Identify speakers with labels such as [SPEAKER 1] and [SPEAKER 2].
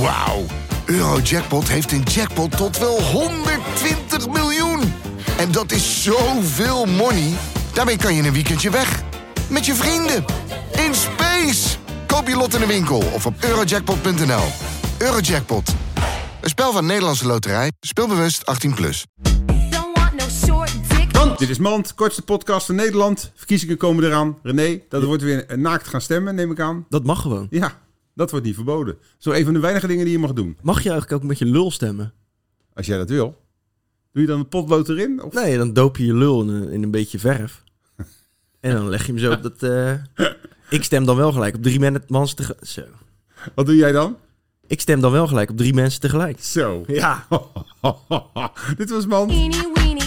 [SPEAKER 1] Wauw. Eurojackpot heeft een jackpot tot wel 120 miljoen. En dat is zoveel money. Daarmee kan je in een weekendje weg. Met je vrienden. In space. Koop je lot in de winkel of op eurojackpot.nl. Eurojackpot. Een spel van Nederlandse Loterij. Speelbewust 18+. Plus.
[SPEAKER 2] Don't want no short dick.
[SPEAKER 3] Dit is Mand, kortste podcast van Nederland. Verkiezingen komen eraan. René, dat wordt weer naakt gaan stemmen, neem ik aan.
[SPEAKER 4] Dat mag gewoon.
[SPEAKER 3] Ja, dat wordt niet verboden. Zo een van de weinige dingen die je mag doen.
[SPEAKER 4] Mag je eigenlijk ook met je lul stemmen?
[SPEAKER 3] Als jij dat wil. Doe je dan een potlood erin? Of...
[SPEAKER 4] Nee, dan doop je je lul in een, in een beetje verf. En dan leg je hem zo op dat... eh, Ik stem dan wel gelijk op drie men- mensen tegelijk. Zo.
[SPEAKER 3] Wat doe jij dan?
[SPEAKER 4] Ik stem dan wel gelijk op drie mensen tegelijk.
[SPEAKER 3] Zo.
[SPEAKER 4] Ja.
[SPEAKER 3] Dit was Mand.
[SPEAKER 2] Eeny weeny.